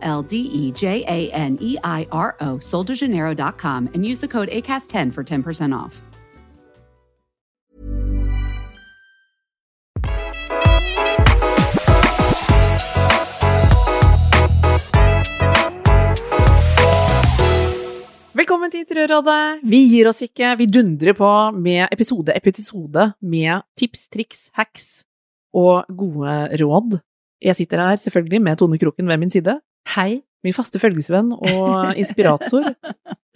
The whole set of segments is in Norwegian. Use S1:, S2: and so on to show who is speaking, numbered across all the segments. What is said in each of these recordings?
S1: L D E J A N E I R O, soldejaneiro.com, and use the code ACAST10 for 10% off.
S2: Velkommen til Interiørrådet. Vi gir oss ikke. Vi dundrer på med episode etter episode med tips, triks, hacks og gode råd. Jeg sitter her selvfølgelig med Tone Kroken ved min side. Hei, min faste følgesvenn og inspirator.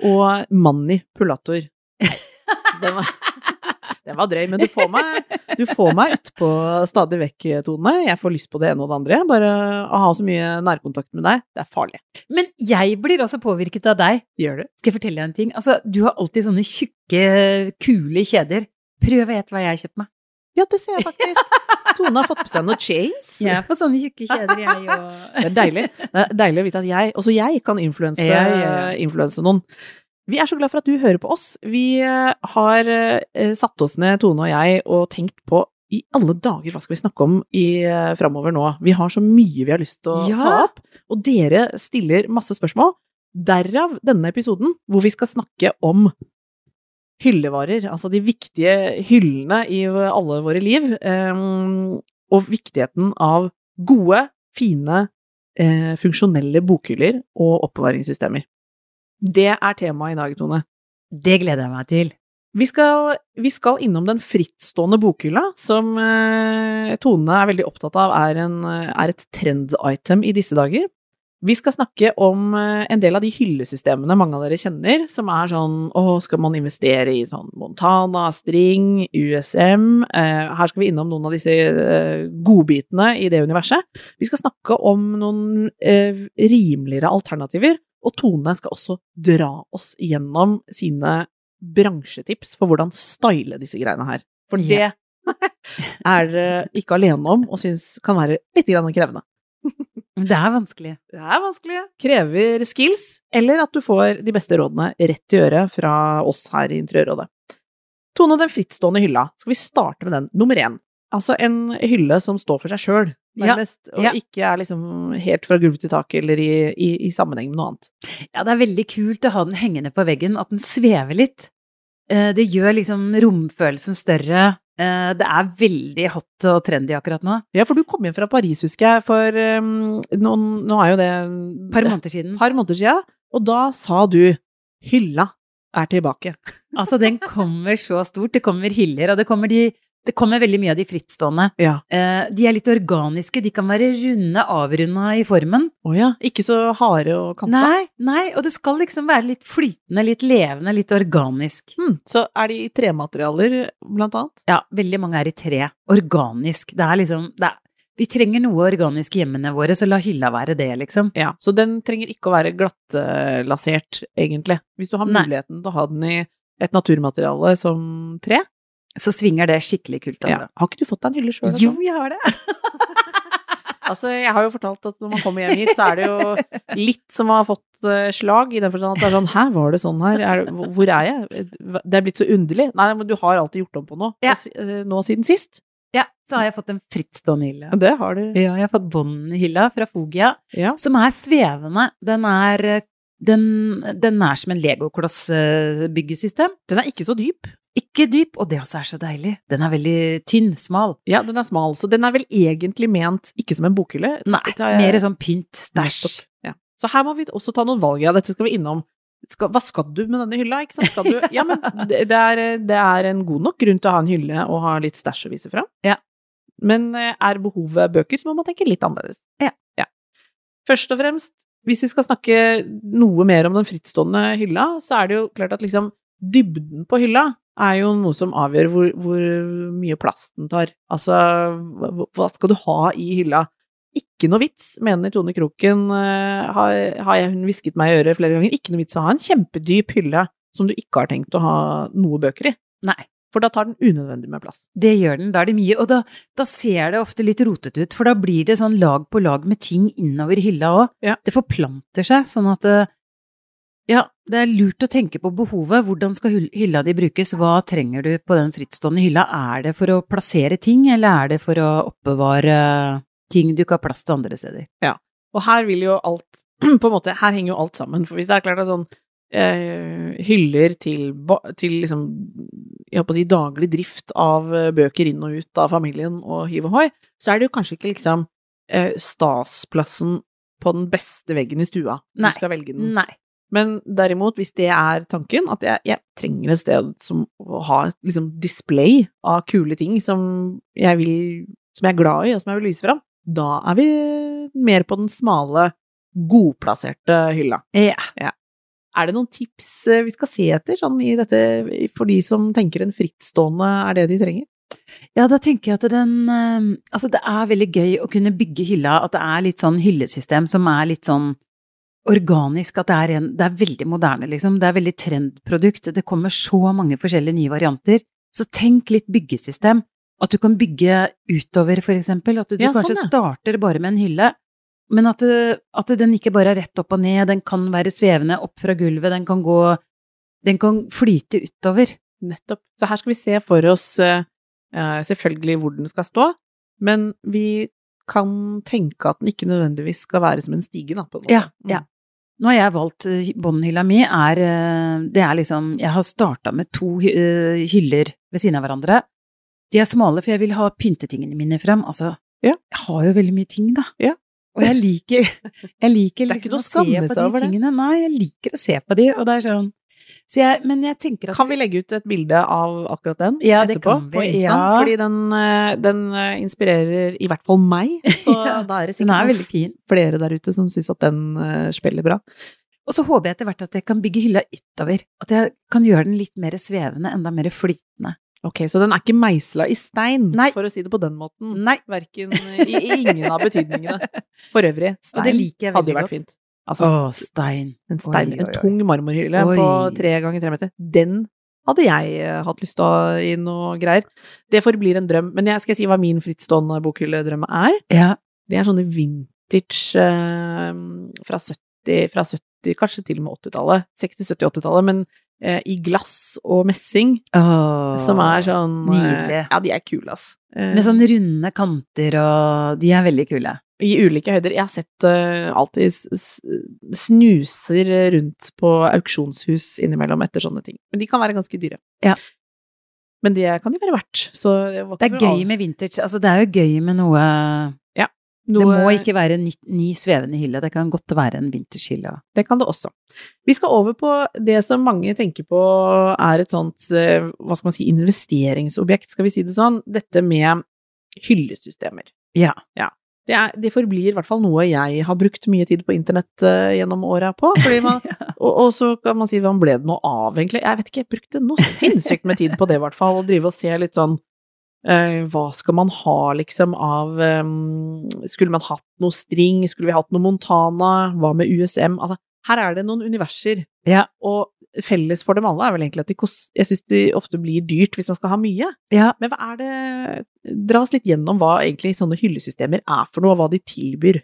S2: og Manni Pullator. Den var, den var drøy, men du får meg, du får meg utpå stadig vekk, Tone. Jeg får lyst på det ene og det andre. Bare å ha så mye nærkontakt med deg, det er farlig.
S3: Men jeg blir også påvirket av deg.
S2: Gjør du?
S3: Skal jeg fortelle deg en ting? Altså, du har alltid sånne tjukke, kule kjeder. Prøv å gjette hva jeg har kjøpt meg.
S2: Ja, det ser jeg faktisk. Tone har fått på seg noen chains.
S3: Jeg er på sånne tjukke kjeder, jeg òg.
S2: Det er deilig. Det er deilig å vite at jeg, også jeg, kan influense,
S3: Ja, ja, ja.
S2: influense noen. Vi er så glad for at du hører på oss. Vi eh, har eh, satt oss ned, Tone og jeg, og tenkt på i alle dager, hva skal vi snakke om i, eh, framover nå? Vi har så mye vi har lyst til å
S3: Ja.
S2: ta opp, og dere stiller masse spørsmål. Derav denne episoden, hvor vi skal snakke om hyllevarer, altså de viktige hyllene i alle våre liv, eh, og viktigheten av gode, fine, eh, funksjonelle bokhyller og oppbevaringssystemer. Det er temaet i dag, Tone.
S3: Det gleder jeg meg til.
S2: Vi skal, vi skal innom den frittstående bokhylla, som eh, Tone er veldig opptatt av er, en, eh, er et trend-item i disse dager. Vi skal snakke om eh, en del av de hyllesystemene mange av dere kjenner, som er sånn å, skal man investere i sånn Montana, String, USM eh, Her skal vi innom noen av disse eh, godbitene i det universet. Vi skal snakke om noen eh, rimeligere alternativer, og Tone skal også dra oss gjennom sine bransjetips for hvordan style disse greiene her. For det
S3: Ja.
S2: er dere ikke alene om, og syns kan være litt grann krevende.
S3: Men det er vanskelig.
S2: Det er vanskelig. Krever skills, eller at du får de beste rådene rett i øret fra oss her i Interiørrådet. Tone, den frittstående hylla. Skal vi starte med den? Nummer én. Altså en hylle som står for seg sjøl,
S3: Ja,
S2: nærmest,
S3: ja.
S2: og ikke er liksom helt fra gulv til tak eller i, i, i sammenheng med noe annet.
S3: Ja, det er veldig kult å ha den hengende på veggen, at den svever litt. Eh, Det gjør liksom romfølelsen større. Eh, Det er veldig hot og trendy akkurat nå.
S2: Ja, for du kom hjem fra Paris, husker jeg, for um, noen, nå er jo det
S3: Et par måneder siden.
S2: et par måneder siden, og da sa du 'hylla er tilbake'.
S3: Altså, den kommer så stort. Det kommer hyller, og det kommer, de, det kommer veldig mye av de frittstående.
S2: Ja.
S3: Eh, de er litt organiske. De kan være runde, avrunda i formen.
S2: Å ja, ikke så harde og kanta.
S3: Nei, nei, og det skal liksom være litt flytende, litt levende, litt organisk.
S2: Hm, så er de i trematerialer, blant annet?
S3: Ja, veldig mange er i tre. Organisk. Det er liksom det er, Vi trenger noe organisk i hjemmene våre, så la hylla være det, liksom.
S2: Ja, så den trenger ikke å være glattlasert, egentlig. Hvis du har
S3: Nei.
S2: muligheten til å ha den i et naturmateriale som tre.
S3: Så svinger det skikkelig kult,
S2: Ja.
S3: altså.
S2: Har ikke du fått deg en hylle sjøl?
S3: Jo, jeg har det.
S2: Altså, jeg har jo fortalt at når man kommer hjem hit, så er det jo litt som har fått eh, slag, i den forstand at det er sånn Hæ, var det sånn her? Er, det- hvor- hvor er jeg? Eh, Det er blitt så underlig. Nei, men du har alltid gjort om på noe.
S3: Ja.
S2: Og si- eh, Nå siden sist.
S3: Ja, så har jeg fått en frittstående hylle.
S2: Ja, Det har du.
S3: Ja, jeg har fått båndhylla fra Fogia.
S2: Ja.
S3: som er svevende. Den er, eh, den, den er som en eh, legokloss-byggesystem.
S2: Den er ikke så dyp.
S3: Ikke dyp, og det også er så deilig. Den er veldig tynn, smal.
S2: Ja, den er smal, så den er vel egentlig ment ikke som en bokhylle.
S3: Nei,
S2: Det har jeg-
S3: mer sånn pynt, stæsj.
S2: Nettopp. Ja. Så her må vi også ta noen valg. Ja, dette skal vi innom. Skal, hva skal du med denne hylla? Ikke sant? Skal du, ja, men det, det, er, eh, det er en god nok grunn til å ha en hylle og ha litt stæsj å vise fram.
S3: Ja.
S2: Men eh, er behovet bøker, så må man tenke litt annerledes.
S3: Ja.
S2: Først og fremst, hvis vi skal snakke noe mer om den frittstående hylla, så er det jo klart at liksom dybden på hylla er jo noe som avgjør hvor, hvor mye plass den tar. Altså, hva, hva skal du ha i hylla? ikke noe vits, mener Tone Kroken, eh, har, har jeg, hun hvisket meg i øret flere ganger, ikke noe vits å ha en kjempedyp hylle som du ikke har tenkt å ha noe bøker i.
S3: Nei.
S2: For da tar den unødvendig med plass.
S3: Det gjør den, da er det mye, og da, da ser det ofte litt rotet ut, for da blir det sånn lag på lag med ting innover hylla òg.
S2: Ja.
S3: Det forplanter seg, sånn at eh, ja, det er lurt å tenke på behovet. Hvordan skal hyll- hylla di brukes, hva trenger du på den frittstående hylla? Er det for å plassere ting, eller er det for å oppbevare ting du ikke har plass til andre steder?
S2: Og her vil jo alt på en måte, Her henger jo alt sammen. For hvis det er klart at sånn eh, hyller til, ba- til liksom jeg håper å si, daglig drift av eh, bøker inn og ut av familien og hiv og hoi, så er det jo kanskje ikke liksom eh, stasplassen på den beste veggen i stua.
S3: Nei.
S2: Du skal velge den.
S3: Nei.
S2: Men derimot, hvis det er tanken, at jeg, jeg trenger et sted som å ha et liksom, display av kule ting som jeg, vil, som jeg er glad i, og som jeg vil vise fram, da er vi mer på den smale, godplasserte hylla.
S3: Ja.
S2: Er det noen tips eh, vi skal se etter sånn, i dette, for de som tenker en frittstående er det de trenger?
S3: Ja, da tenker jeg at den eh, Altså, det er veldig gøy å kunne bygge hylla, at det er litt sånn hyllesystem som er litt sånn organisk, at det er, en, det er veldig moderne, liksom. Det er veldig trendprodukt. Det kommer så mange forskjellige nye varianter. Så tenk litt byggesystem. At du kan bygge utover, for eksempel. At du, du
S2: Ja,
S3: kanskje
S2: sånn, ja.
S3: starter bare med en hylle. Men at, du, at den ikke bare er rett opp og ned, den kan være svevende opp fra gulvet, den kan gå Den kan flyte utover.
S2: Nettopp. Så her skal vi se for oss eh, eh, selvfølgelig hvor den skal stå, men vi kan tenke at den ikke nødvendigvis skal være som en stige, da, på en måte. Mm.
S3: Ja, ja. Mm. Nå har jeg valgt eh, båndhylla mi, er eh, Det er liksom Jeg har starta med to hy- eh, hyller ved siden av hverandre. De er smale, for jeg vil ha pyntetingene mine frem. Altså,
S2: Ja.
S3: jeg har jo veldig mye ting, da.
S2: Ja.
S3: Og jeg liker, jeg liker
S2: Det er ikke
S3: liksom
S2: noe
S3: å
S2: å
S3: se
S2: skamme
S3: på
S2: seg over
S3: de
S2: det.
S3: tingene. Nei, jeg liker å se på de, og det er sånn så jeg, Men jeg tenker at
S2: Kan vi legge ut et bilde av akkurat den
S3: Ja, det
S2: etterpå
S3: kan vi,
S2: på Insta?
S3: ja.
S2: Fordi den, eh, den eh, inspirerer i hvert fall meg, så
S3: Ja,
S2: da er det
S3: den er
S2: sikkert
S3: veldig fin.
S2: noen flere der ute som syns at den eh, spiller bra.
S3: Og så håper jeg etter hvert at jeg kan bygge hylla utover. At jeg kan gjøre den litt mer svevende, enda mer flytende.
S2: Ok, Så den er ikke meisla i stein,
S3: Nei. Mm.
S2: for å si det på den måten.
S3: Nei,
S2: Verken i, i ingen av betydningene. For øvrig,
S3: og det
S2: stein
S3: liker jeg veldig
S2: hadde jo vært
S3: godt.
S2: fint. Altså,
S3: Å, stein.
S2: en, stein,
S3: oi,
S2: en
S3: oi.
S2: tung marmorhylle
S3: Oi.
S2: på tre ganger tre meter. Den hadde jeg eh, hatt lyst til å ha i noe greier. Det forblir en drøm. Men jeg skal si hva min frittstående bokhylledrøm er.
S3: Ja.
S2: Det er sånne vintage eh, fra 70, fra 70, kanskje til og med 80-tallet. 60-, 70-, 80-tallet, men eh, i glass og messing,
S3: Åh,
S2: som er sånn eh,
S3: nydelig. sånn
S2: Ja, de er kule, ass. Eh,
S3: Med sånne runde kanter og De er veldig kule.
S2: I ulike høyder. Jeg har sett eh, alltid s- s- snuser eh, rundt på auksjonshus innimellom etter sånne ting. Men de kan være ganske dyre.
S3: Ja.
S2: Men det kan de være verdt. Så var
S3: Det
S2: ikke
S3: er
S2: for alle.
S3: gøy med vintage. Altså, det er jo gøy med noe Det
S2: Noe-
S3: må ikke være en ny, ny svevende hylle, det kan godt være en vintagehylle. også.
S2: Det kan det også. Vi skal over på det som mange tenker på er et sånt, eh, hva skal man si, investeringsobjekt, skal vi si det sånn. Dette med hyllesystemer.
S3: Ja.
S2: Det, er, det forblir i hvert fall noe jeg har brukt mye tid på internett eh, gjennom åra på. Fordi man, og, og så kan man si hva ble det noe av, egentlig? Jeg vet ikke, jeg brukte noe sinnssykt med tid på det, i hvert fall. Å drive og se litt sånn eh, hva skal man ha, liksom, av eh, Skulle man hatt noe string? Skulle vi hatt noe Montana? Hva med USM? Altså, her er det noen universer.
S3: Ja.
S2: Og felles for dem alle er vel egentlig at de kost, jeg syns det ofte blir dyrt hvis man skal ha mye.
S3: Ja.
S2: Men hva er det Dra oss litt gjennom hva egentlig sånne hyllesystemer er for noe, og hva de tilbyr.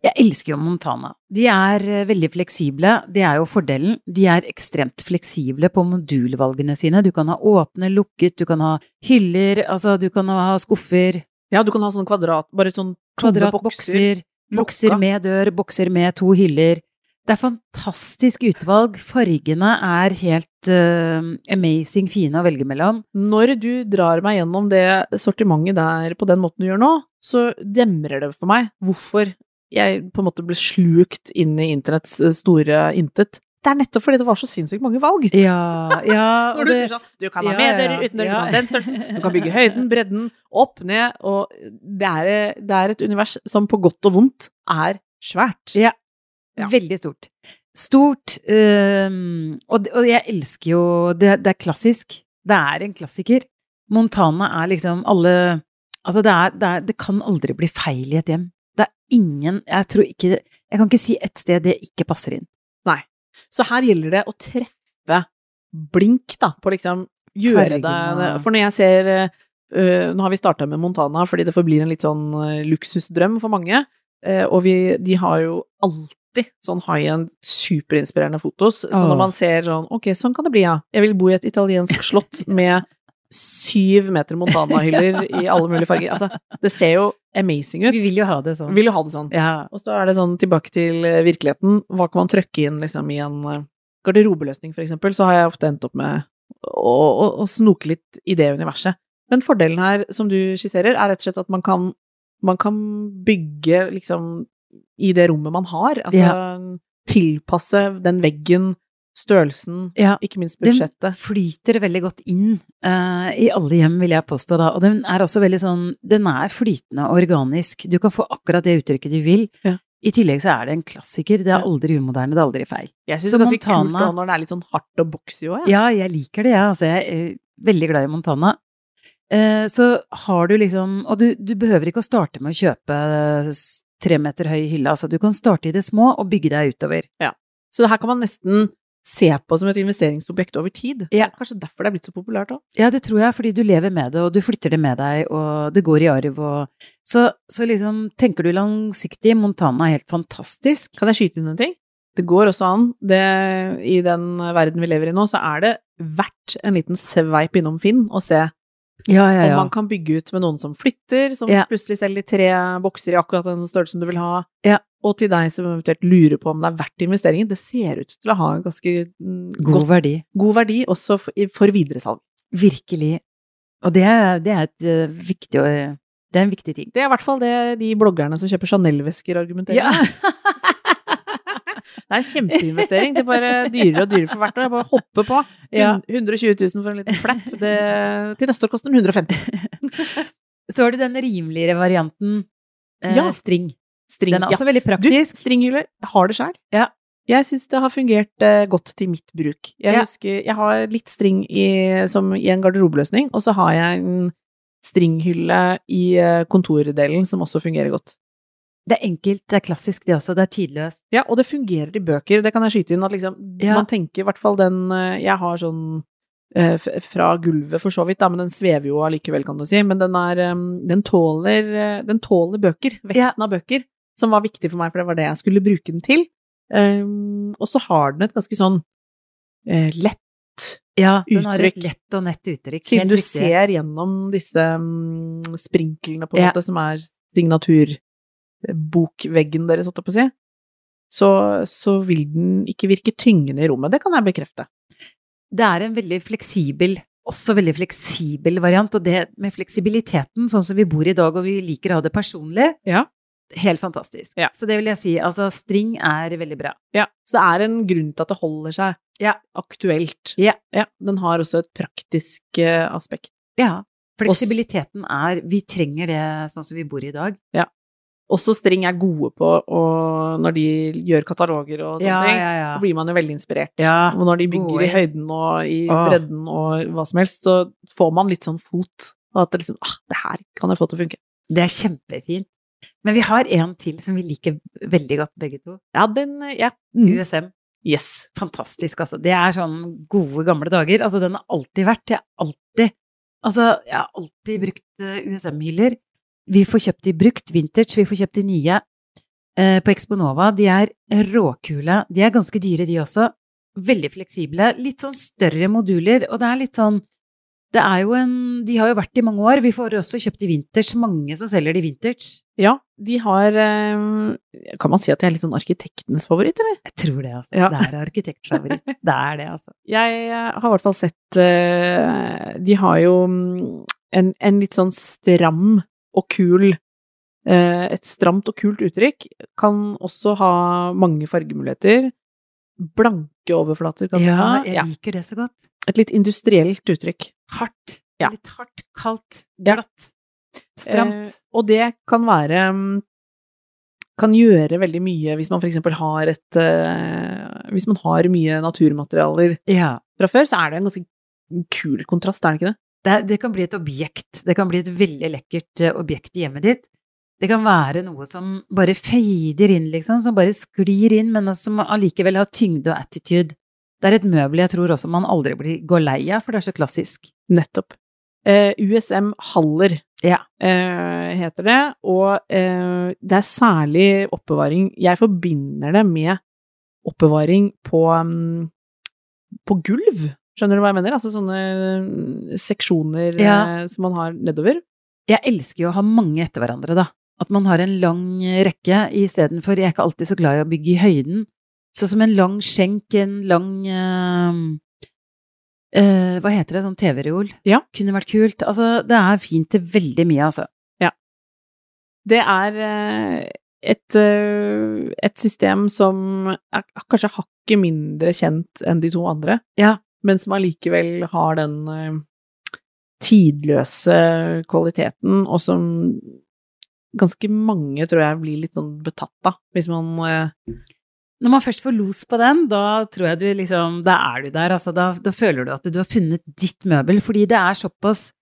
S3: Jeg elsker jo Montana. De er eh, veldig fleksible, det er jo fordelen. De er ekstremt fleksible på modulvalgene sine. Du kan ha åpne, lukket, du kan ha hyller, altså du kan ha skuffer,
S2: Ja, du kan ha sånn kvadrat, bare sånn tomme bokser.
S3: kvadratbokser. Bokser
S2: lukka.
S3: med dør, bokser med to hyller. Det er fantastisk utvalg. Fargene er helt eh, amazing fine å velge mellom.
S2: Når du drar meg gjennom det sortimentet der på den måten du gjør nå, så demrer det for meg hvorfor jeg på en måte ble slukt inn i internetts eh, store intet. Det er nettopp fordi det var så sinnssykt mange valg.
S3: Ja, ja. og
S2: Når du
S3: det-
S2: sier sånn Du kan
S3: Ja,
S2: ha med
S3: ja,
S2: dører, uten dører,
S3: ja.
S2: du kan ha den størrelsen, du kan bygge høyden, bredden, opp, ned, og det er, det er et univers som på godt og vondt er svært.
S3: sånn, Ja.
S2: Ja.
S3: Veldig stort. Stort. øhm, og, det- og jeg elsker jo det, det er klassisk. Det er en klassiker. Montana er liksom alle Altså, det, er, det, er, det kan aldri bli feil i et hjem. Det er ingen Jeg tror ikke Jeg kan ikke si et sted det ikke passer inn.
S2: Så her gjelder det å treffe blink, da, på liksom gjøre
S3: Fargen
S2: det
S3: og-
S2: For når jeg ser eh, øh, Nå har vi starta med Montana, fordi det forblir en litt sånn eh, luksusdrøm for mange. eh, og vi, de har jo alltid sånn high-end, superinspirerende fotos. Så
S3: Åh.
S2: når man ser sånn Ok, sånn kan det bli, ja. Jeg vil bo i et italiensk slott med syv meter Montana-hyller i alle mulige farger. Altså, det ser jo amazing ut.
S3: Vi vil jo ha det sånn.
S2: Vi vil jo ha det sånn.
S3: Ja.
S2: Og så er det sånn tilbake til eh, virkeligheten. Hva kan man trøkke inn liksom, i en eh, garderobeløsning, for eksempel? Så har jeg ofte endt opp med å, å, å snoke litt i det universet. Men fordelen her, som du skisserer, er rett og slett at man kan, man kan bygge liksom i det rommet man har. Altså tilpasse den veggen, størrelsen,
S3: ja.
S2: ikke minst
S3: Den
S2: budsjettet.
S3: flyter veldig godt inn eh, i alle hjem, vil jeg påstå da. Og den er også veldig sånn Den er flytende og organisk. Du kan få akkurat det uttrykket du vil.
S2: Ja.
S3: I tillegg så er det en klassiker. Det
S2: Ja.
S3: er aldri umoderne, det er aldri feil.
S2: Jeg syns
S3: så
S2: det er ganske kult
S3: Montana-
S2: også når det er litt sånn hardt og boxy òg, jeg.
S3: Ja, jeg liker det, jeg. altså, jeg er veldig glad i Montana. Eh, så har du liksom Og du, du behøver ikke å starte med å kjøpe eh, s- tre meter høy hylle. Altså, du kan starte i det små og bygge deg utover.
S2: Så det her kan man nesten se på som et investeringsobjekt over tid.
S3: Ja.
S2: Kanskje derfor det er blitt så populært òg.
S3: Ja, det tror jeg, fordi du lever med det, og du flytter det med deg, og det går i arv, og Så, så liksom, tenker du langsiktig, Montana er helt fantastisk.
S2: Kan jeg skyte inn en ting? Det går også an. Det, I den verden vi lever i nå, så er det verdt en liten sveip innom Finn og se
S3: Ja, ja,
S2: om man kan bygge ut med noen som flytter, som
S3: Ja.
S2: plutselig selger tre bokser i akkurat den størrelsen du vil ha.
S3: Ja.
S2: Og til deg som eventuelt lurer på om det er verdt investeringen, det ser ut til å ha en ganske mm,
S3: God
S2: godt,
S3: verdi.
S2: god verdi også for, i- for videresalg.
S3: Virkelig. Og det er, det er et eh, viktig eh, Det er en viktig ting.
S2: Det er i hvert fall det de bloggerne som kjøper Chanel-vesker argumenterer.
S3: Ja.
S2: Det er en kjempeinvestering. Det er bare dyrere og dyrere for hvert år. Jeg bare hopper på.
S3: Ja.
S2: 120 000 for en liten flapp. Det, til neste år koster den 150.
S3: Så har du den rimeligere varianten, eh,
S2: Ja.
S3: string.
S2: String.
S3: Den er også veldig
S2: ja. Du,
S3: praktisk.
S2: stringhyller, jeg har det sjøl.
S3: Ja.
S2: Jeg syns det har fungert eh, godt til mitt bruk. Jeg
S3: Ja.
S2: husker Jeg har litt string i, som i en garderobeløsning, og så har jeg en stringhylle i eh, kontordelen som også fungerer godt.
S3: Det er enkelt, det er klassisk det også, det er tidløst.
S2: Ja, og det fungerer i bøker, det kan jeg skyte inn. At liksom,
S3: Ja.
S2: Man tenker i hvert fall den eh, Jeg har sånn eh, f- fra gulvet, for så vidt, da, men den svever jo allikevel, kan du si. Men den er eh, Den tåler, eh, den tåler bøker.
S3: Ja.
S2: Vekten av bøker, som var viktig for meg, for det var det jeg skulle bruke den til. Um, og så har den et ganske sånn eh, lett
S3: Ja, den har et
S2: Uttrykk.
S3: lett og nett uttrykk.
S2: Siden
S3: helt
S2: du
S3: riktig.
S2: ser gjennom disse mm, sprinklene, på en
S3: Ja.
S2: måte, som er signaturbokveggen deres, holdt jeg på å si, så, så vil den ikke virke tyngende i rommet. Det kan jeg bekrefte.
S3: Det er en veldig fleksibel, også veldig fleksibel variant, og det med fleksibiliteten, sånn som vi bor i dag, og vi liker å ha det personlig,
S2: Ja.
S3: helt fantastisk.
S2: Ja.
S3: Så det vil jeg si, altså string er veldig bra.
S2: Så det er en grunn til at det holder seg
S3: Ja.
S2: aktuelt.
S3: Ja.
S2: Den har også et praktisk eh, aspekt.
S3: Ja, fleksibiliteten er, vi trenger det sånn som vi bor i dag.
S2: Også string er gode på å- når de gjør kataloger og sånne ting.
S3: ja,
S2: Da blir man jo veldig inspirert.
S3: Ja,
S2: Og når de bygger
S3: gode.
S2: i høyden og i
S3: Åh.
S2: bredden og hva som helst, så får man litt sånn fot. Og at det liksom Ah, det her kan jeg få til å funke.
S3: det er kjempefint. Men vi har en til som vi liker veldig godt, begge to.
S2: Ja, den Ja.
S3: USM.
S2: Yes.
S3: Fantastisk, altså. Det er sånn gode, gamle dager. Altså, den har alltid vært. Jeg har alltid Altså, jeg har alltid brukt eh, USM-hyller. Vi får kjøpt de brukt, vintage, vi får kjøpt de nye eh, på Exponova. De er råkule. De er ganske dyre, de også. Veldig fleksible. Litt sånn større moduler, og det er litt sånn det er jo en, De har jo vært i mange år. Vi får også kjøpt i vintage. Mange som selger de vintage.
S2: Ja, de har eh, Kan man si at de er litt sånn arkitektenes favoritt, eller?
S3: Jeg tror det, altså.
S2: Ja.
S3: Det er arkitektfavoritt. Det er det, altså.
S2: Jeg har i hvert fall sett eh, De har jo mm, en, en litt sånn stram og kul eh, Et stramt og kult uttrykk. Kan også ha mange fargemuligheter. Blanke overflater kan de
S3: Ja,
S2: ha.
S3: jeg
S2: Ja.
S3: liker det så godt.
S2: Et litt industrielt uttrykk.
S3: Hardt.
S2: Ja.
S3: Litt hardt, kaldt,
S2: Ja.
S3: glatt. Stramt.
S2: Eh, og det kan være mm, Kan gjøre veldig mye hvis man f.eks. har et eh, Hvis man har mye naturmaterialer
S3: Eh, ja.
S2: fra før, så er det en ganske kul kontrast, er det ikke det?
S3: Det, er- det kan bli et objekt. Det kan bli et veldig lekkert eh, objekt i hjemmet ditt. Det kan være noe som bare fader inn, liksom, som bare sklir inn, men altså som allikevel har tyngde og attitude. Det er et møbel jeg tror også man aldri blir, går lei av, for det er så klassisk.
S2: Nettopp. Eh, USM Haller
S3: Ja.
S2: eh, heter det, og eh, det er særlig oppbevaring Jeg forbinder det med oppbevaring på, mm, på gulv. Skjønner du hva jeg mener? Altså sånne mm, seksjoner
S3: Ja.
S2: eh, som man har nedover.
S3: Jeg elsker jo å ha mange etter hverandre, da. At man har en lang rekke istedenfor Jeg er ikke alltid så glad i å bygge i høyden. Sånn som en lang skjenk, en lang eh, eh, Hva heter det? Sånn TV-reol?
S2: Ja.
S3: Kunne vært kult. Altså, det er fint til veldig mye, altså.
S2: Det er eh, et, eh, et system som er kanskje hakket mindre kjent enn de to andre,
S3: Ja.
S2: men som allikevel har den eh, tidløse kvaliteten, og som ganske mange, tror jeg, blir litt sånn betatt av, hvis man eh,
S3: Når man først får los på den, da tror jeg du liksom Da er du der, altså. Da, da føler du at du har funnet ditt møbel, fordi det er såpass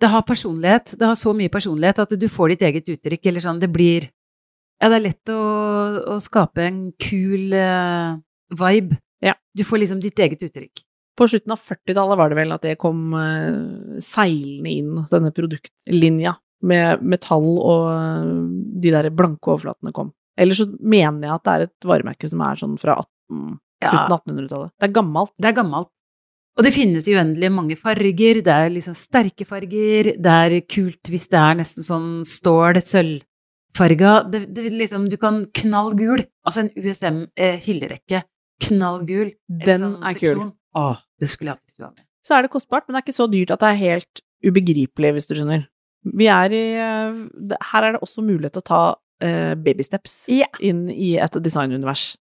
S3: Det har personlighet. Det har så mye personlighet at du får ditt eget uttrykk, eller sånn. Det blir Ja, det er lett å, å skape en kul eh, vibe.
S2: Ja.
S3: Du får liksom ditt eget uttrykk.
S2: På slutten av 40-tallet var det vel at det kom eh, seilende inn, denne produktlinja, med metall og eh, de der blanke overflatene kom. Eller så mener jeg at det er et varemerke som er sånn fra 18,
S3: Ja,
S2: slutten av 1800-tallet. Det er gammelt.
S3: det er gammelt. Og det finnes i uendelig mange farger. Det er liksom sterke farger. Det er kult hvis det er nesten sånn stål, sølvfarga. Det, det liksom, du kan knall gul. Altså en USM-hyllerekke. Knall gul. En
S2: Den
S3: sånn
S2: er kul.
S3: seksjon. Åh, det skulle jeg hatt i stua mi.
S2: Så er det kostbart, men det er ikke så dyrt at det er helt ubegripelig, hvis du skjønner. Vi er i eh, det- Her er det også mulighet til å ta eh, babysteps
S3: Ja.
S2: inn i et designunivers.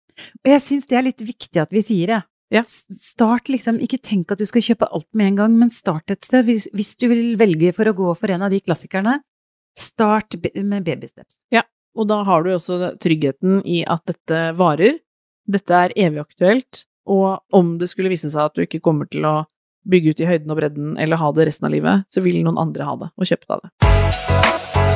S3: Og jeg syns det er litt viktig at vi sier det.
S2: Ja.
S3: S- Start liksom, ikke tenk at du skal kjøpe alt med en gang, men start et sted. Hvis, hvis du vil velge for å gå for en av de klassikerne, start be- med babysteps.
S2: Og da har du jo også tryggheten i at dette varer, dette er evig aktuelt, og om det skulle vise seg at du ikke kommer til å bygge ut i høyden og bredden eller ha det resten av livet, så vil noen andre ha det og kjøpe det av det.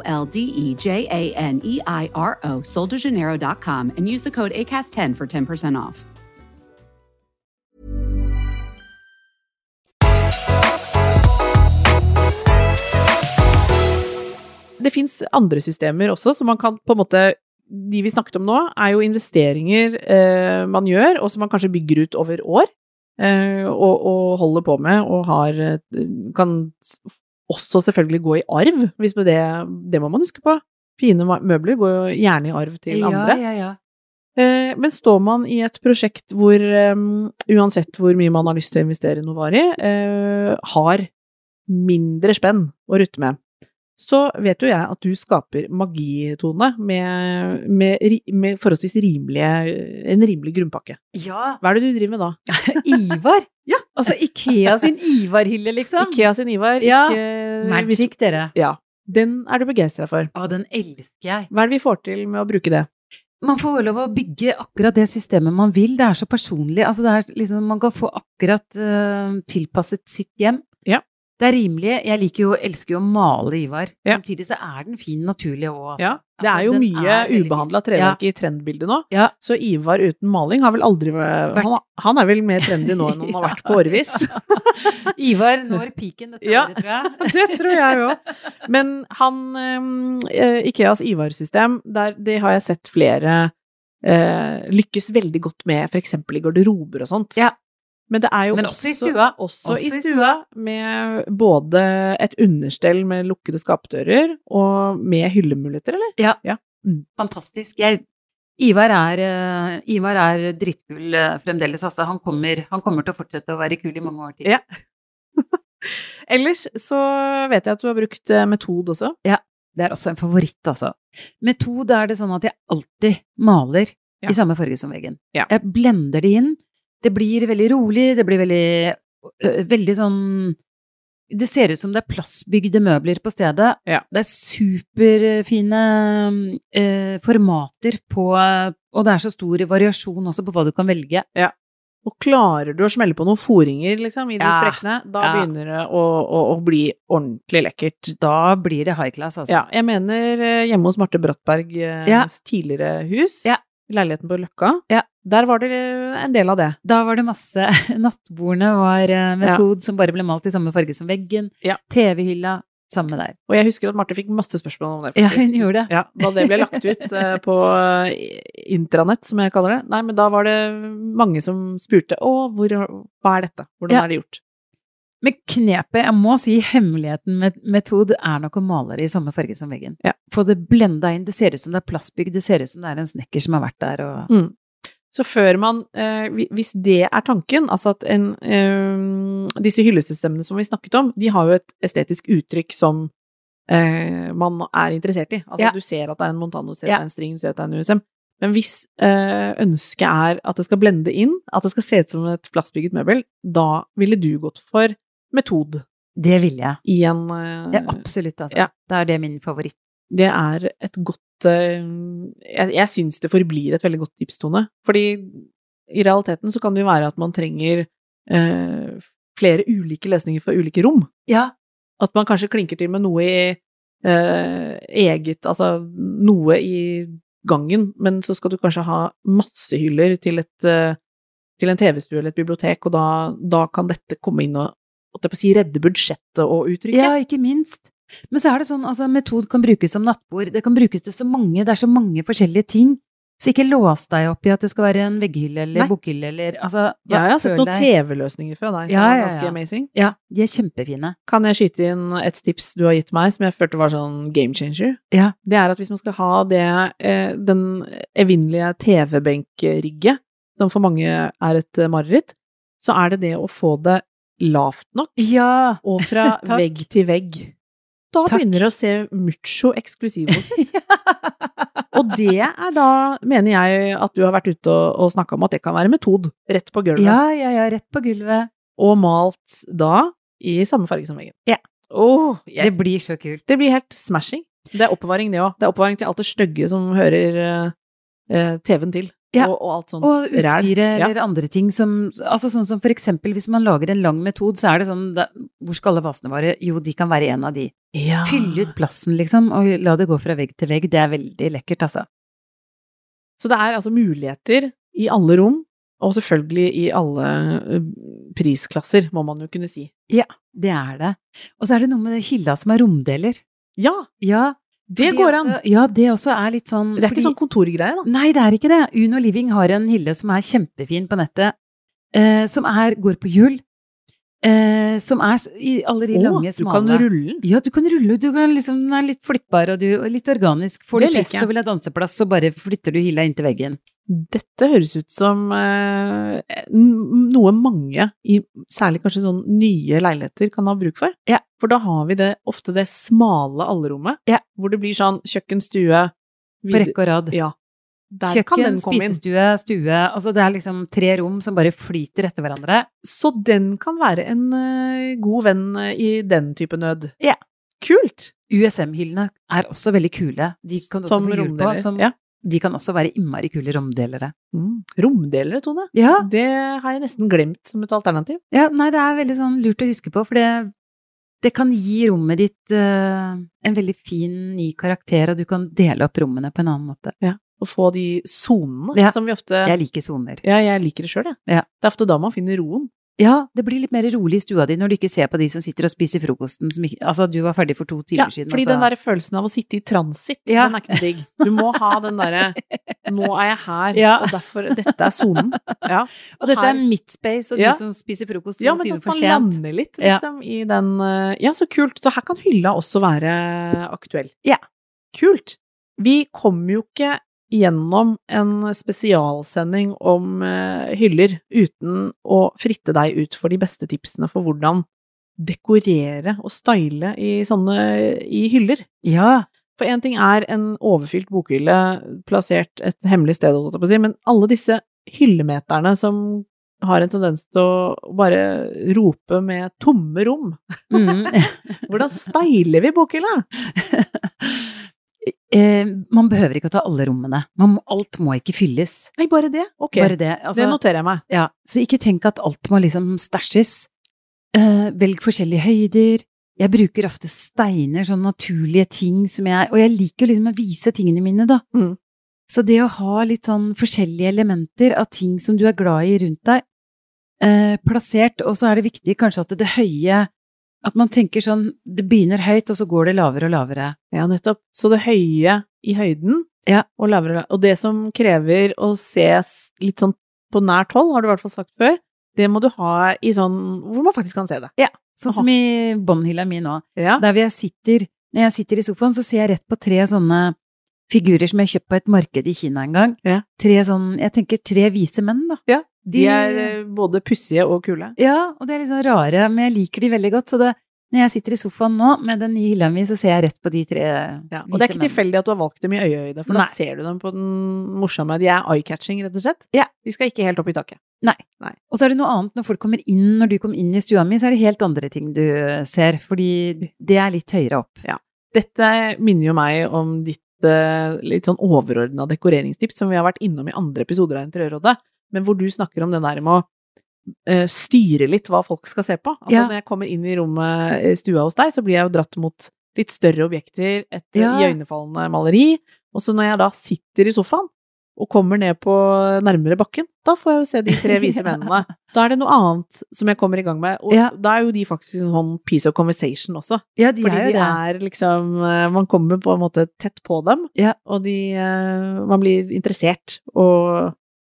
S1: L D E J A N E I R O, soldejaneiro.com, and use the code ACAST10 for 10% off.
S2: Det fins andre systemer også, så man kan på en måte De vi snakket om nå, er jo investeringer eh, man gjør, og som man kanskje bygger ut over år, eh, og, og holder på med, og har eh, Kan s- også selvfølgelig gå i arv, hvis det, det må man huske på. Fine ma- møbler går jo gjerne i arv til andre.
S3: Ja, ja, ja.
S2: Eh, Men står man i et prosjekt hvor eh, uansett hvor mye man har lyst til å investere noe varig, eh, har mindre spenn å rutte med, så vet jo jeg at du skaper magitone med, med, ri- med forholdsvis rimelige, en rimelig grunnpakke.
S3: Ja,
S2: Hva er det du driver med da?
S3: Ivar!
S2: Ja.
S3: Altså Ikea sin Ivar-hylle, liksom.
S2: Ikea sin Ivar,
S3: Ja.
S2: ikke
S3: Magic, dere.
S2: Ja. Den er du begeistra for.
S3: Å, den elsker jeg.
S2: Hva er det vi får til med å bruke det?
S3: Man får lov å bygge akkurat det systemet man vil. Det er så personlig. Altså, det er liksom, man kan få akkurat eh, tilpasset sitt hjem.
S2: Ja.
S3: Det er rimelig. Jeg liker jo, elsker jo å male Ivar.
S2: Ja.
S3: Samtidig så er den fin naturlig òg, altså.
S2: Ja, det er
S3: Altså,
S2: jo
S3: den
S2: mye
S3: er veldig fin.
S2: ubehandla treverk i trendbildet nå,
S3: Ja.
S2: så Ivar uten maling har vel aldri vært
S3: Vært.
S2: han, han er vel mer trendy nå enn han har vært på årevis.
S3: Ivar når piken dette
S2: Ja.
S3: året, tror jeg.
S2: Det tror jeg òg. Men han eh, Ikeas Ivar-system, der, det har jeg sett flere eh, lykkes veldig godt med, f.eks. i garderober og sånt.
S3: Ja.
S2: Men det er jo
S3: Men også i stua.
S2: Også,
S3: Også
S2: i
S3: i
S2: stua, med både et understell med lukkede skapdører og med hyllemuligheter, eller?
S3: Fantastisk. Jeg, Ivar er, eh, Ivar er drittkul eh, fremdeles, altså. Han kommer, han kommer til å fortsette å være kul i mange år til.
S2: Ja. Ellers så vet jeg at du har brukt eh, metod også.
S3: Det er også en favoritt, altså. Med to da er det sånn at jeg alltid maler
S2: Ja.
S3: i samme farge som veggen.
S2: Ja.
S3: Jeg blender det inn. Det blir veldig rolig, det blir veldig, øh, veldig sånn Det ser ut som det er plassbygde møbler på stedet.
S2: Ja.
S3: Det er superfine øh, formater på eh, Og det er så stor variasjon også på hva du kan velge.
S2: Og klarer du å smelle på noen foringer liksom, i de
S3: Ja.
S2: sprekkene, da
S3: Ja.
S2: begynner det å, å, å bli ordentlig lekkert.
S3: Da blir det high class, altså.
S2: Ja, jeg mener eh, hjemme hos Marte Brattbergs
S3: Ja.
S2: tidligere hus,
S3: Ja.
S2: leiligheten på Løkka,
S3: Ja.
S2: der var det eh, en del av det.
S3: Da var det masse Nattbordene var eh, metod som bare ble malt i samme farge som veggen.
S2: Ja.
S3: TV-hylla, samme der.
S2: Og jeg husker at Marte fikk masse spørsmål om det,
S3: Ja,
S2: faktisk.
S3: hun gjorde det.
S2: Ja, da det ble lagt ut eh, på eh, intranett, som jeg kaller det. Nei, men da var det mange som spurte å, hvor, hva er dette, hvordan
S3: Ja.
S2: er det gjort?
S3: Men knepet, jeg må si hemmeligheten med metod, er nok å male det i samme farge som veggen.
S2: Ja.
S3: Få det blenda inn. Det ser ut som det er plastbygg, det ser ut som det er en snekker som har vært der og
S2: Mm. Så før man, eh, hvi- hvis det er tanken, altså at en, eh, disse hyllesystemene som vi snakket om, de har jo et estetisk uttrykk som eh, man er interessert i. Altså
S3: Ja.
S2: du ser at det er en Montano, du ser
S3: Ja.
S2: at det er en string, du ser at det er en USM. Men hvis eh, ønsket er at det skal blende inn, at det skal se ut som et plastbygget møbel, da ville du gått for metod
S3: Det vil jeg.
S2: i en eh,
S3: Ja, absolutt, altså.
S2: Ja.
S3: Da er det min favoritt.
S2: det er et godt eh, Jeg, jeg syns det forblir et veldig godt tips, Tone. Fordi i realiteten så kan det jo være at man trenger eh, flere ulike løsninger for ulike rom.
S3: Ja.
S2: At man kanskje klinker til med noe i eh, eget Altså noe i gangen, men så skal du kanskje ha masse hyller til et eh, til en TV-stue eller et bibliotek, og da, da kan dette komme inn og holdt jeg på å si, redde budsjettet og uttrykket.
S3: Ja, ikke minst. Men så er det sånn, altså, metod kan brukes som nattbord. Det kan brukes til så mange, det er så mange forskjellige ting. Så ikke lås deg opp i at det skal være en vegghylle eller
S2: Nei.
S3: bokhylle eller altså,
S2: Ja, jeg har sett
S3: føl
S2: noen
S3: deg-
S2: TV-løsninger fra deg som
S3: Ja,
S2: er
S3: ja,
S2: ganske
S3: ja.
S2: amazing.
S3: Ja, de er kjempefine.
S2: Kan jeg skyte inn et tips du har gitt meg, som jeg følte var sånn game changer?
S3: Ja.
S2: Det er at hvis man skal ha det, eh, den evinnelige TV-benkrigget, som for mange er et eh, mareritt, så er det det å få det lavt nok,
S3: Ja!
S2: og fra
S3: Takk.
S2: vegg til vegg. Da
S3: Takk.
S2: begynner det å se mucho eksklusiv ut. Og det er da, mener jeg, at du har vært ute og, og snakka om at det kan være metod, rett på gulvet
S3: ja, ja, ja, rett på gulvet.
S2: og malt da i samme farge som veggen.
S3: Ja.
S2: Åh, yes.
S3: Det blir så kult.
S2: Det blir helt smashing. Det er oppbevaring, det òg. Det er oppbevaring til alt det stygge som hører eh, eh, TV-en til,
S3: Ja.
S2: og, og alt sånt.
S3: Og utstyret
S2: Sånn ja.
S3: eller andre ting som Altså sånn som for eksempel hvis man lager en lang metod, så er det sånn da, Hvor skal alle vasene våre? Jo, de kan være en av de.
S2: ja.
S3: Fylle ut plassen, liksom, og la det gå fra vegg til vegg. Det er veldig lekkert, altså.
S2: Så det er altså muligheter i alle rom, og selvfølgelig i alle eh, prisklasser, må man jo kunne si.
S3: Det er det. Og så er det noe med det hylla som er romdeler.
S2: Ja,
S3: Ja,
S2: det
S3: fordi
S2: går an!
S3: også- Ja, det også er litt sånn
S2: altså, Det er ikke
S3: fordi-
S2: sånn kontorgreie, da.
S3: Nei, det er ikke det. Uno Living har en hylle som er kjempefin på nettet, eh, som er, går på hjul, eh, som er s- i alle de
S2: Å,
S3: lange,
S2: du
S3: smale
S2: kan rulle den.
S3: Ja, du kan rulle, du kan liksom, den er litt flyttbar og du, og litt organisk. Får
S2: Det
S3: du
S2: liker
S3: fest
S2: jeg.
S3: og vil ha danseplass, så bare flytter du hylla inntil veggen.
S2: Dette høres ut som eh, n- noe mange, i særlig kanskje sånn nye leiligheter, kan ha bruk for.
S3: Ja.
S2: For da har vi det, ofte det smale allrommet,
S3: Ja.
S2: hvor det blir sånn kjøkken, stue
S3: På rekke og rad.
S2: Ja. Der kan
S3: Kjøkken,
S2: den komme inn.
S3: spisestue, stue. Altså det er liksom tre rom som bare flyter etter hverandre.
S2: Så den kan være en eh, god venn eh, i den type nød.
S3: Ja.
S2: Kult!
S3: USM-hyllene er også veldig kule. De kan du også
S2: Som
S3: få hjul på.
S2: romdeler,
S3: Som,
S2: ja.
S3: De kan også være innmari kule romdelere.
S2: Mm. Romdelere, Tone.
S3: Ja,
S2: Det har jeg nesten glemt som et alternativ.
S3: ja, nei, det er veldig sånn lurt å huske på, for det, det kan gi rommet ditt eh, en veldig fin, ny karakter, og du kan dele opp rommene på en annen måte.
S2: Å få de sonene
S3: Ja.
S2: som vi ofte
S3: Jeg liker soner.
S2: Ja, jeg liker det sjøl, jeg.
S3: Ja.
S2: Det er ofte da man finner roen.
S3: Ja, det blir litt mer rolig i stua di når du ikke ser på de som sitter og spiser frokosten som ikke Altså, du var ferdig for to timer siden,
S2: fordi
S3: altså.
S2: den der følelsen av å sitte i transitt,
S3: Ja.
S2: den er ikke noe digg. Du må ha den derre 'nå er jeg her',
S3: Ja.
S2: og derfor Dette er sonen. Ja.
S3: Og dette
S2: her-
S3: er mitt space, og
S2: Ja.
S3: de som spiser frokost to
S2: ja, men
S3: timer
S2: at
S3: for
S2: man
S3: sent.
S2: lander litt,
S3: Ja.
S2: liksom, i den eh, Ja, så kult. Så her kan hylla også være aktuell.
S3: Ja.
S2: Kult. Vi kommer jo ikke gjennom en spesialsending om eh, hyller uten å fritte deg ut for de beste tipsene for hvordan dekorere og style i sånne i hyller.
S3: Ja.
S2: For én ting er en overfylt bokhylle plassert et hemmelig sted, holdt jeg på å si, men alle disse hyllemeterne som har en tendens til å bare rope med tomme rom.
S3: Mm.
S2: Hvordan styler vi bokhylla?
S3: eh, man behøver ikke å ta alle rommene. Man må, alt må ikke fylles.
S2: Nei, bare det? Ok,
S3: Bare det. Altså,
S2: det noterer jeg meg.
S3: ja. Så ikke tenk at alt må liksom stæsjes. Eh, velg forskjellige høyder. Jeg bruker ofte steiner, sånne naturlige ting som jeg Og jeg liker jo liksom å vise tingene mine, da.
S2: Mm.
S3: Så det å ha litt sånn forskjellige elementer av ting som du er glad i rundt deg, eh, plassert, og så er det viktig kanskje at det høye At man tenker sånn Det begynner høyt, og så går det lavere og lavere.
S2: Ja, nettopp. Så det høye i høyden
S3: Ja.
S2: og lavere Og det som krever å ses litt sånn på nært hold, har du i hvert fall sagt før, det må du ha i sånn hvor man faktisk kan se det.
S3: Sånn som i båndhylla mi nå.
S2: Ja.
S3: Der hvor jeg sitter, når jeg sitter i sofaen, så ser jeg rett på tre sånne figurer som jeg kjøpt på et marked i Kina en gang.
S2: Ja.
S3: Tre sånn, jeg tenker tre vise menn, da.
S2: ja. De er eh, både pussige og kule.
S3: Ja, og det er liksom rare, men jeg liker de veldig godt, så det når jeg sitter i sofaen nå med den nye hylla mi, så ser jeg rett på de tre vise
S2: Og det er ikke
S3: menn.
S2: tilfeldig at du har valgt dem i øyehøyde, for
S3: Nei.
S2: da ser du dem på den morsomme De er eye-catching, rett og slett.
S3: Ja.
S2: De skal ikke helt opp i taket.
S3: Og så er det noe annet når folk kommer inn, når du kom inn i stua mi, så er det helt andre ting du ser, fordi det er litt høyere opp.
S2: Dette minner jo meg om ditt eh, litt sånn overordna dekoreringstips som vi har vært innom i andre episoder av Interiørrådet, men hvor du snakker om den der med å eh, styre litt hva folk skal se på. Altså
S3: Ja.
S2: når jeg kommer inn i rommet, eh, stua hos deg, så blir jeg jo dratt mot litt større objekter, et eh,
S3: Ja.
S2: iøynefallende maleri, og så når jeg da sitter i sofaen og kommer ned på nærmere bakken, da får jeg jo se de tre vise
S3: Ja.
S2: mennene. Da er det noe annet som jeg kommer i gang med, og
S3: Ja.
S2: da er jo de faktisk en sånn piece of conversation også.
S3: Ja, de
S2: Fordi
S3: er
S2: de
S3: jo det.
S2: er liksom eh, Man kommer på en måte tett på dem,
S3: Ja.
S2: og de eh, Man blir interessert og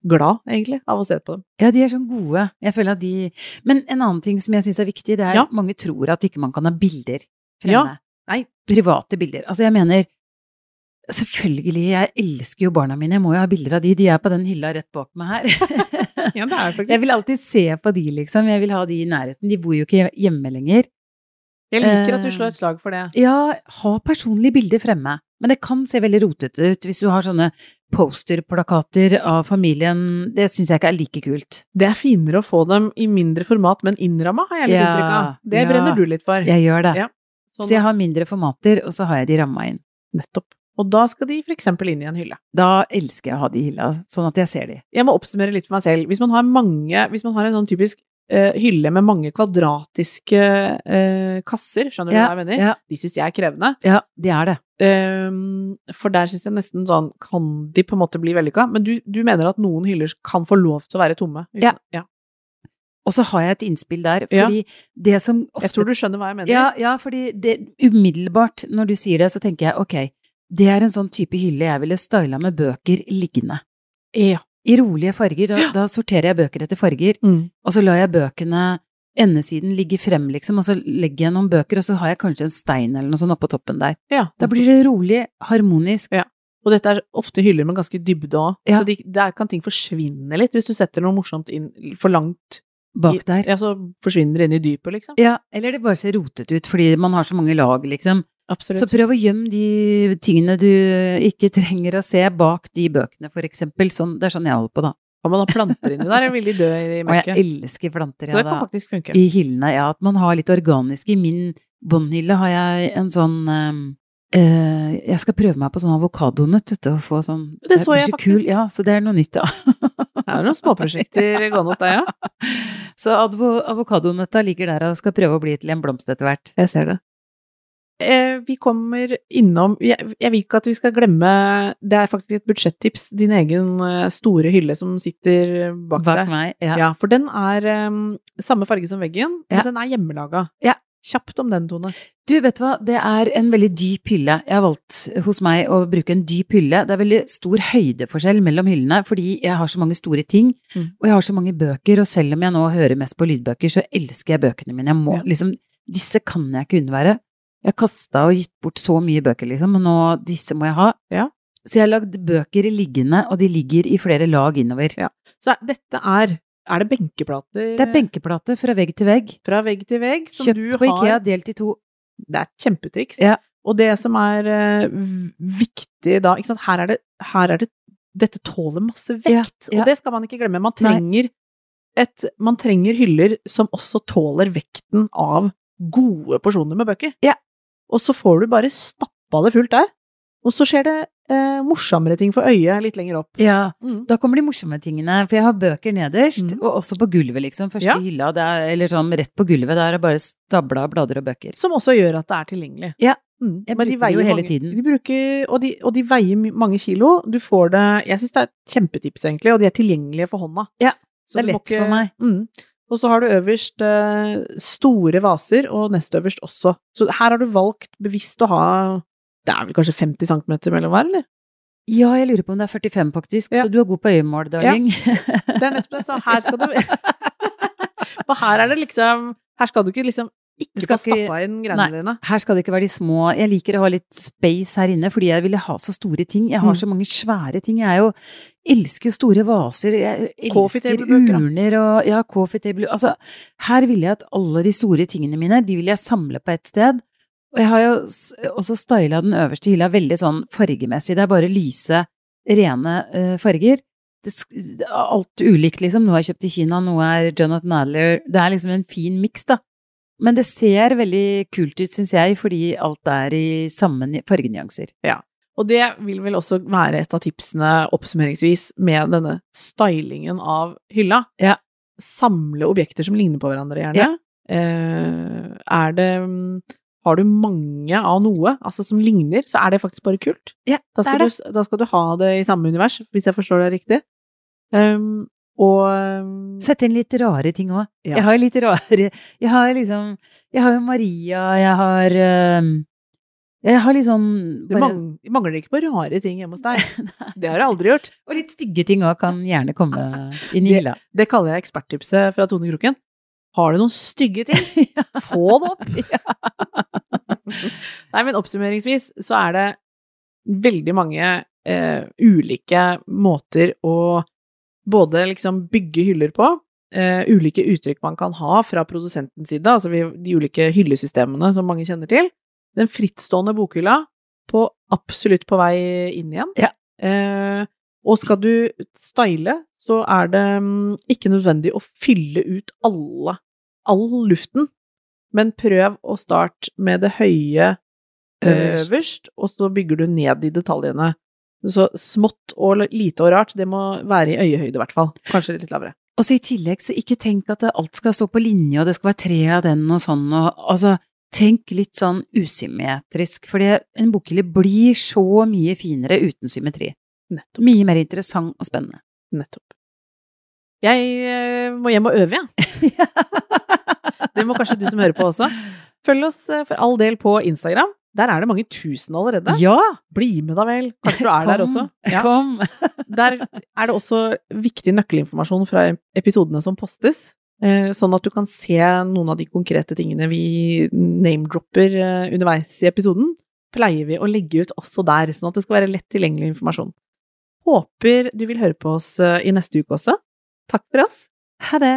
S2: glad, egentlig, av å se på dem.
S3: Ja, de er sånn gode. Jeg føler at de Men en annen ting som jeg syns er viktig, det er
S2: Ja.
S3: at mange tror at ikke man kan ha bilder
S2: Ja.
S3: fremme. Nei, private bilder. Altså, jeg mener Selvfølgelig, jeg elsker jo barna mine, jeg må jo ha bilder av de. De er på den hylla rett bak meg her.
S2: Ja, det er
S3: jeg vil alltid se på de, liksom. Jeg vil ha de i nærheten. De bor jo ikke hjemme lenger.
S2: Jeg liker at du slår et slag for det.
S3: Ja, ha personlige bilder fremme. Men det kan se veldig rotete ut hvis du har sånne posterplakater av familien. Det syns jeg ikke er like kult.
S2: Det er finere å få dem i mindre format, men innramma, har jeg litt
S3: Ja,
S2: inntrykk av. Det
S3: ja.
S2: brenner du litt for.
S3: Jeg gjør det.
S2: Sånn, Ja.
S3: Så jeg har mindre formater, og så har jeg de ramma inn.
S2: Nettopp. Og da skal de f.eks. inn i en hylle.
S3: Da elsker jeg å ha de i hylla, sånn at jeg ser de.
S2: Jeg må oppsummere litt for meg selv. Hvis man har mange Hvis man har en sånn typisk eh, hylle med mange kvadratiske eh, kasser, skjønner du
S3: Ja,
S2: hva jeg mener?
S3: ja.
S2: De syns jeg er krevende.
S3: Ja, de er det.
S2: Ehm, for der syns jeg nesten sånn Kan de på en måte bli vellykka? Men du, du mener at noen hyller kan få lov til å være tomme? uten-
S3: Ja.
S2: ja.
S3: Og så har jeg et innspill der,
S2: Ja.
S3: fordi det som ofte
S2: Jeg tror du skjønner hva jeg mener.
S3: ja, ja, fordi det umiddelbart når du sier det, så tenker jeg ok, det er en sånn type hylle jeg ville styla med bøker liggende.
S2: Ja.
S3: I rolige farger, da, da sorterer jeg bøker etter farger,
S2: Mm.
S3: og så lar jeg bøkene Endesiden ligger frem, liksom, og så legger jeg noen bøker, og så har jeg kanskje en stein eller noe sånt oppå toppen der.
S2: ja.
S3: Da blir det rolig, harmonisk.
S2: Og dette er ofte hyller med ganske dybde òg,
S3: Ja.
S2: så de, der kan ting forsvinne litt hvis du setter noe morsomt inn for langt
S3: bak
S2: i-
S3: der.
S2: Ja, så forsvinner det inn i dypet, liksom.
S3: Ja, eller det bare ser rotet ut fordi man har så mange lag, liksom.
S2: Absolutt.
S3: Så prøv å gjemme de tingene du ikke trenger å se bak de bøkene, for eksempel. Sånn, det er sånn jeg holder på, da.
S2: kan man ha planter inni der, eller vil de dø i
S3: Og jeg
S2: mørket?
S3: elsker
S2: Så
S3: planter,
S2: det kan
S3: jeg, da.
S2: faktisk funke.
S3: I hyllene, ja. At man har litt organisk. I min båndhylle har jeg en sånn eh, eh, jeg skal prøve meg på sånn avokadonøtt, vet du, og få sånn
S2: Det så
S3: blir
S2: jeg
S3: så
S2: faktisk.
S3: Kul. Ja, så det er noe nytt, da.
S2: Det er noen småprosjekter gående hos deg, ja?
S3: Så advo, avokadonøtta ligger der og skal prøve å bli til en blomst etter hvert.
S2: Jeg ser det. Eh, vi kommer innom jeg, jeg vil ikke at vi skal glemme Det er faktisk et budsjettips. Din egen eh, store hylle som sitter bak,
S3: Bak
S2: deg.
S3: meg.
S2: Ja.
S3: Ja.
S2: for den er em, samme farge som veggen,
S3: Ja.
S2: men den er hjemmelaga.
S3: Ja.
S2: Kjapt om den, Tone.
S3: Du, vet du hva, det er en veldig dyp hylle. Jeg har valgt hos meg å bruke en dyp hylle. Det er veldig stor høydeforskjell mellom hyllene, fordi jeg har så mange store ting,
S2: Mm.
S3: og jeg har så mange bøker, og selv om jeg nå hører mest på lydbøker, så elsker jeg bøkene mine. Jeg må
S2: Ja.
S3: liksom Disse kan jeg ikke unnvære. Jeg har kasta og gitt bort så mye bøker, liksom, og nå disse må jeg ha.
S2: Ja.
S3: Så jeg har lagd bøker liggende, og de ligger i flere lag innover.
S2: Så er- dette er Er det benkeplater? eh,
S3: Det er benkeplater fra vegg til vegg.
S2: Fra vegg til vegg. Som
S3: Kjøpt
S2: du
S3: på
S2: har.
S3: Ikea, delt i to.
S2: Det er et kjempetriks.
S3: Ja.
S2: Og det som er eh, v- viktig da ikke sant? Her, er det, her er det Dette tåler masse vekt,
S3: Ja, ja.
S2: og det skal man ikke glemme. Man trenger, et, man trenger hyller som også tåler vekten av gode porsjoner med bøker.
S3: Ja.
S2: Og så får du bare stappa det fullt der. Og så skjer det eh, morsommere ting for øyet litt lenger opp.
S3: Ja,
S2: Mm.
S3: Da kommer de morsomme tingene, for jeg har bøker nederst,
S2: Mm.
S3: og også på gulvet, liksom. Første
S2: Ja.
S3: hylla, det er, eller sånn rett på gulvet, der er det bare stabla av blader og bøker.
S2: Som også gjør at det er tilgjengelig.
S3: Ja.
S2: Mm.
S3: Jeg
S2: Men de
S3: bruker det jo
S2: veier
S3: hele
S2: mange,
S3: tiden.
S2: De bruker, og, de, og de veier my- mange kilo. Du får det Jeg syns det er et kjempetips, egentlig, og de er tilgjengelige for hånda.
S3: Ja,
S2: Så
S3: det er
S2: du må
S3: lett for meg.
S2: Mm. Og så har du øverst eh, store vaser, og nest øverst også. Så her har du valgt bevisst å ha Det er vel kanskje 50 cm mellom hver, eller?
S3: Ja, jeg lurer på om det er 45 faktisk,
S2: Ja.
S3: så du er god på øyemål, darling.
S2: Det er nettopp det, så her skal du For her er det liksom Her skal du ikke liksom
S3: Det
S2: ikke
S3: skal
S2: få
S3: ikke-
S2: stappa inn
S3: Nei.
S2: greiene dine.
S3: Her skal det ikke være de små. Jeg liker å ha litt space her inne, fordi jeg ville ha så store ting. Jeg har
S2: Mm.
S3: så mange svære ting. Jeg er jo, elsker jo store vaser. Jeg
S2: Coffee
S3: elsker
S2: table-bøker, da.
S3: urner og ja, coffee table. Altså, her ville jeg at alle de store tingene mine, de ville jeg samle på ett sted. Og jeg har jo s- også styla den øverste hylla veldig sånn fargemessig. Det er bare lyse, rene eh, farger. Det, sk- det er alt ulikt, liksom. Noe er kjøpt i Kina, noe er Jonathan Adler. Det er liksom en fin miks, da. Men det ser veldig kult ut, syns jeg, fordi alt er i samme ni- fargenyanser.
S2: Og det vil vel også være et av tipsene oppsummeringsvis med denne stylingen av hylla.
S3: Ja.
S2: Samle objekter som ligner på hverandre, gjerne.
S3: Ja.
S2: Eh, er det mm, Har du mange av noe altså som ligner, så er det faktisk bare kult.
S3: Ja,
S2: Da skal,
S3: det er
S2: Du, da skal du ha det i samme univers, hvis jeg forstår det riktig. Um, og um,
S3: Sett inn litt rare ting òg.
S2: Ja.
S3: Jeg har litt rare Jeg har liksom Jeg har jo Maria, jeg har øhm, Jeg har litt sånn
S2: det
S3: bare,
S2: ehm, mang- mangler ikke på rare ting hjemme hos deg. Det har jeg aldri gjort.
S3: Og litt stygge ting òg kan gjerne komme inn i
S2: Det-
S3: hylla.
S2: Det kaller jeg eksperttipset fra Tone Kroken. Har du noen stygge ting? Få det opp! Nei, men oppsummeringsvis så er det veldig mange eh, ulike måter å både liksom bygge hyller på, eh, ulike uttrykk man kan ha fra produsentens side, altså vi, de ulike hyllesystemene som mange kjenner til. Den frittstående bokhylla på absolutt på vei inn igjen.
S3: Ja.
S2: Eh, og skal du style, så er det mm, ikke nødvendig å fylle ut alle, all luften, men prøv å starte med det høye
S3: Øverst.
S2: øverst, og så bygger du ned i detaljene. Så smått og lite og rart, det må være i øyehøyde i hvert fall. Kanskje litt lavere.
S3: Og så i tillegg, så ikke tenk at det- alt skal stå på linje, og det skal være tre av den og sånn, og altså Tenk litt sånn usymmetrisk, for en bokhylle blir så mye finere uten symmetri.
S2: Nettopp.
S3: Mye mer interessant og spennende.
S2: Nettopp. Jeg eh, må hjem og øve, jeg. Det må kanskje du som hører på også. Følg oss eh, for all del på Instagram. Der er det mange tusen allerede.
S3: Ja!
S2: Bli med da vel. Kanskje du er der
S3: Kom.
S2: også. Ja.
S3: Kom!
S2: Der er det også viktig nøkkelinformasjon fra episodene som postes, eh, sånn at du kan se noen av de konkrete tingene vi name-dropper eh, underveis i episoden. Pleier vi å legge ut også der, sånn at det skal være lett tilgjengelig informasjon. Håper du vil høre på oss eh, i neste uke også. Takk for oss.
S3: Ha det!